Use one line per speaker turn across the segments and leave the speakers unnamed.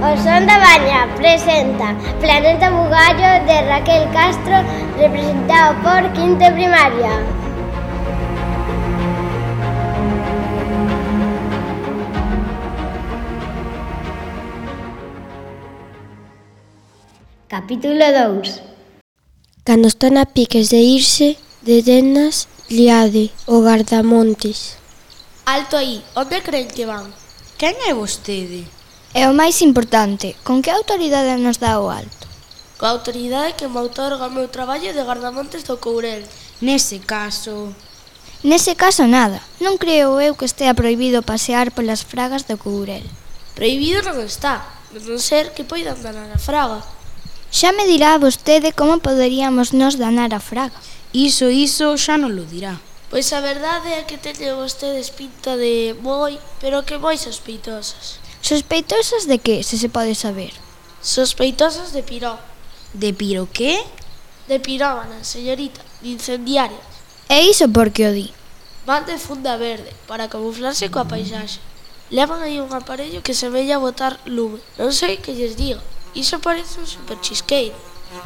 Corazón da Baña presenta Planeta Bugallo de Raquel Castro representado por Quinto Primaria. Capítulo 2
Cando están a piques de irse, de denas, liade o gardamontes.
Alto aí, onde creen que van?
Quen é vostede?
E o máis importante, con que autoridade nos dá o alto?
Coa autoridade que me outorga o meu traballo de gardamontes do Courel.
Nese caso...
Nese caso nada, non creo eu que estea proibido pasear polas fragas do Courel.
Prohibido non está, de non ser que poidan danar a fraga.
Xa me dirá vostede como poderíamos nos danar a fraga.
Iso, iso, xa non lo dirá.
Pois a verdade é que teñen vostedes pinta de moi, pero que moi sospeitosas.
Sospeitosas de que, se se pode saber?
Sospeitosas de piró,
De piro que?
de pirómanas, señorita, de incendiarias.
E iso porque o di.
Van de funda verde para camuflarse coa paisaxe. Levan aí un aparello que semella botar lume. Non sei que lles diga. Iso parece un superchisqueiro.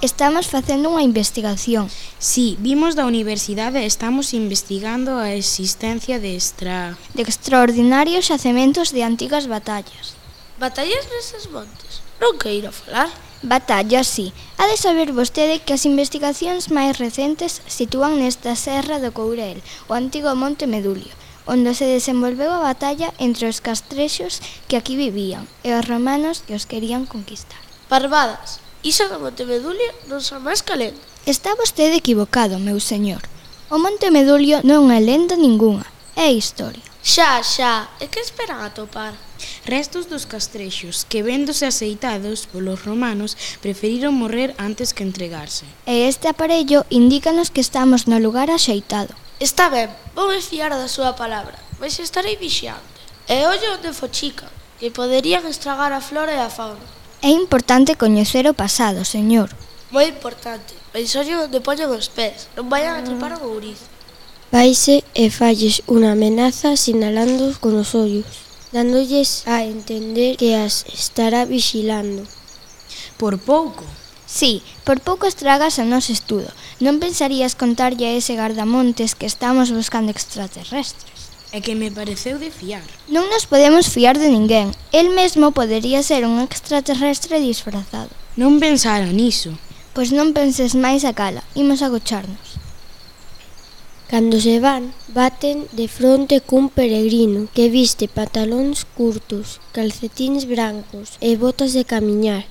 Estamos facendo unha investigación.
Si, vimos da universidade e estamos investigando a existencia de extra...
de extraordinarios xacementos de antigas batallas.
Batallas nestes montes. Non queiro falar.
Batallas, sí. Ha de saber vostede que as investigacións máis recentes sitúan nesta serra do Courel, o antigo Monte Medulio, onde se desenvolveu a batalla entre os castrexos que aquí vivían e os romanos que os querían conquistar.
Parvadas. Iso do Monte Medulio non son máis que lenda.
Está vostede equivocado, meu señor. O Monte Medulio non é lenda ningunha, é historia.
Xa, xa. E que esperan atopar?
Restos dos castrexos que véndose aceitados polos romanos preferiron morrer antes que entregarse.
E este aparello indícanos que estamos no lugar axeitado.
Está ben, vou me fiar da súa palabra, mas estarei vixiante. E ollo onde fochica, que poderían estragar a flora e a fauna.
É importante coñecer o pasado, señor.
Moi importante, mas ollo onde poñen os pés, non vayan a trepar o ouriz.
Vaise e falles unha amenaza sinalándoos con os ollos, dándolles a entender que as estará vigilando.
Por pouco.
Sí, por pouco estragas o noso estudo. Non pensarías contarlle a ese gardamontes que estamos buscando extraterrestres.
E que me pareceu de fiar.
Non nos podemos fiar de ninguén. El mesmo podería ser un extraterrestre disfrazado.
Non pensara niso.
Pois non penses máis a cala, imos agocharnos.
Cando se van, baten de fronte cun peregrino que viste pantalóns curtos, calcetins brancos e botas de camiñar.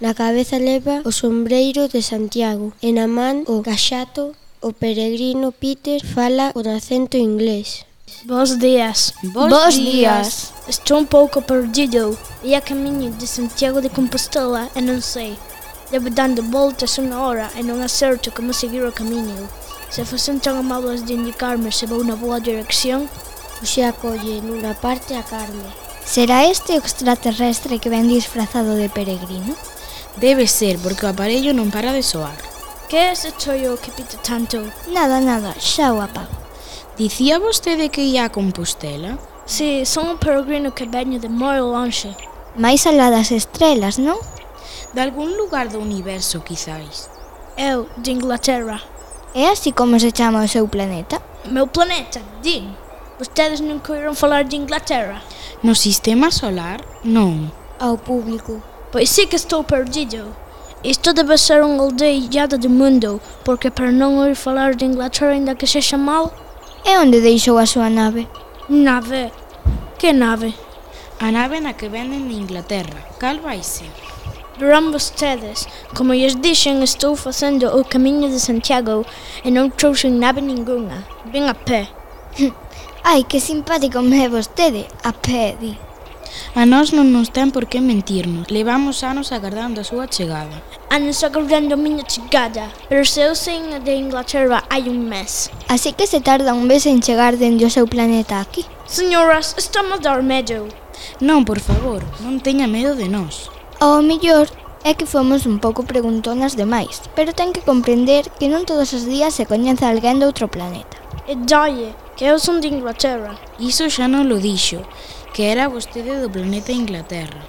Na cabeza leva o sombreiro de Santiago e na man o caxato o peregrino Peter fala con acento inglés.
Bos días.
Bos Bos días.
Estou um pouco perdido e a caminho de Santiago de Compostela e não sei. Devo dando voltas uma hora e não acerto como seguir o caminho. Se fossem tão amáveis de indicar-me se vou na boa direção,
Oxe acolle nunha parte a Carme.
Será este o extraterrestre que ven disfrazado de peregrino?
Debe ser, porque o aparello non para de soar.
que é esse choio que pita tanto?
Nada, nada, xa o apago.
Dicía vostede que ia a Compostela?
Se sou um peregrino que venho de muito longe.
Mais alá das estrelas, non?
De algún lugar do universo, quizáis.
Eu, de Inglaterra.
É así como se chama o seu planeta?
Meu planeta, Din. Vocês nunca ouviram falar de Inglaterra?
No sistema solar? Non.
Ao público.
Pois sim que estou perdido. Isto deve ser um aldeiada do mundo, porque para não ouvir falar de Inglaterra ainda que seja mal,
E onde deixou a súa nave?
nave. Que nave?
A nave na que venden de Inglaterra. Cal vai ser?
Verão vocês, como lhes dizem, estou fazendo o caminho de Santiago e não trouxe nave nenhuma. Vim a pé.
Ai, que simpático me é vostede, a pedi.
A nós non nos ten por que mentirnos. Levamos anos agardando a súa chegada.
Anos aguardando a minha chegada, pero se eu saí de Inglaterra há um mês.
Así que se tarda un mes en chegar dende o seu planeta aquí.
Senhoras, estamos a dar medo.
Non, por favor, non teña medo de nós.
Ao mellor é que fomos un pouco preguntonas demais, pero ten que comprender que non todos os días se coñece alguén de outro planeta.
E daí, que eu sou de Inglaterra.
Iso xa non lo dixo, que era vostede do planeta Inglaterra.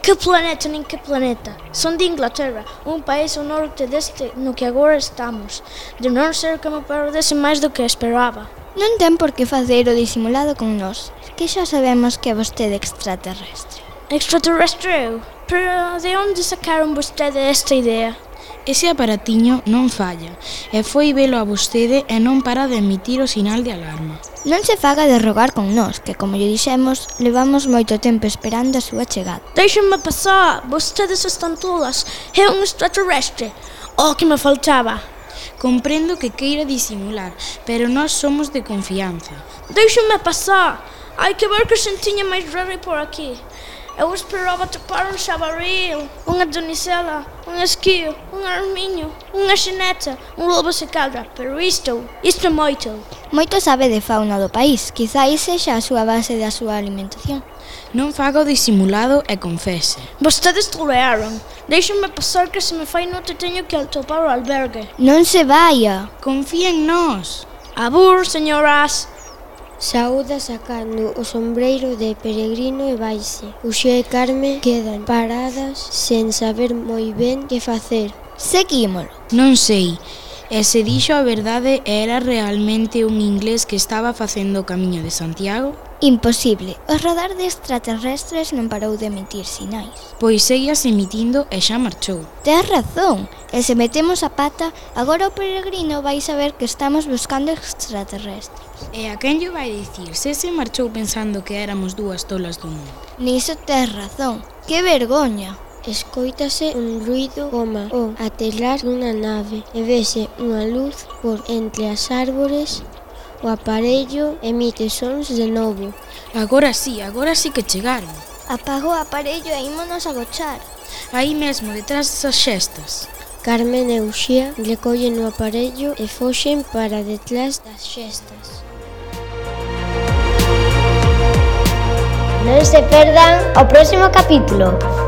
Que planeta nin que planeta. Son de Inglaterra, un país ao norte deste no que agora estamos. De non ser que me perdese máis do que esperaba.
Non ten por que facer o disimulado con nós, que xa sabemos que é vostede extraterrestre.
Extraterrestre eu. Pero de onde sacaron vostede esta idea?
Ese aparatiño non falla, e foi velo a vostede e non para de emitir o sinal de alarma.
Non se faga de rogar con nós, que como lle dixemos, levamos moito tempo esperando a súa chegada.
Deixenme pasar, vostedes están tolas. É un extraterrestre. O que me faltaba.
Comprendo que queira disimular, pero nós somos de confianza.
Deixenme pasar. Hai que ver que xentiña máis rara por aquí. Eu esperaba topar un xabaril, unha donicela, un esquío, un armiño, unha xineta, un um lobo se cadra, pero isto, isto é moito.
Moito sabe de fauna do país, quizáis sexa a súa base da súa alimentación.
Non faga o disimulado e confese.
Vostedes trolearon. Deixenme pasar que se me fai noite teño que atopar o albergue.
Non se vaia,
Confía en nós.
Abur, señoras.
Saúda sacando o sombreiro de peregrino e baixe. Uxé e Carme quedan paradas sen saber moi ben que facer.
seguímolo.
Non sei, e se dixo a verdade era realmente un inglés que estaba facendo o camiño de Santiago?
Imposible, o radar de extraterrestres non parou de emitir sinais.
Pois seguías emitindo e xa marchou.
Tes razón, e se metemos a pata, agora o peregrino vai saber que estamos buscando extraterrestres.
E a quen lle vai dicir se se marchou pensando que éramos dúas tolas do mundo?
Niso tes razón, que vergoña.
Escoítase un ruido coma o aterrar dunha nave e vese unha luz por entre as árbores. O aparello emite sons de novo.
Agora sí, agora sí que chegaron.
Apago o aparello e ímonos agochar.
Aí mesmo, detrás desas xestas.
Carmen e Uxía recollen o aparello e foxen para detrás das xestas.
Non se perdan o próximo capítulo.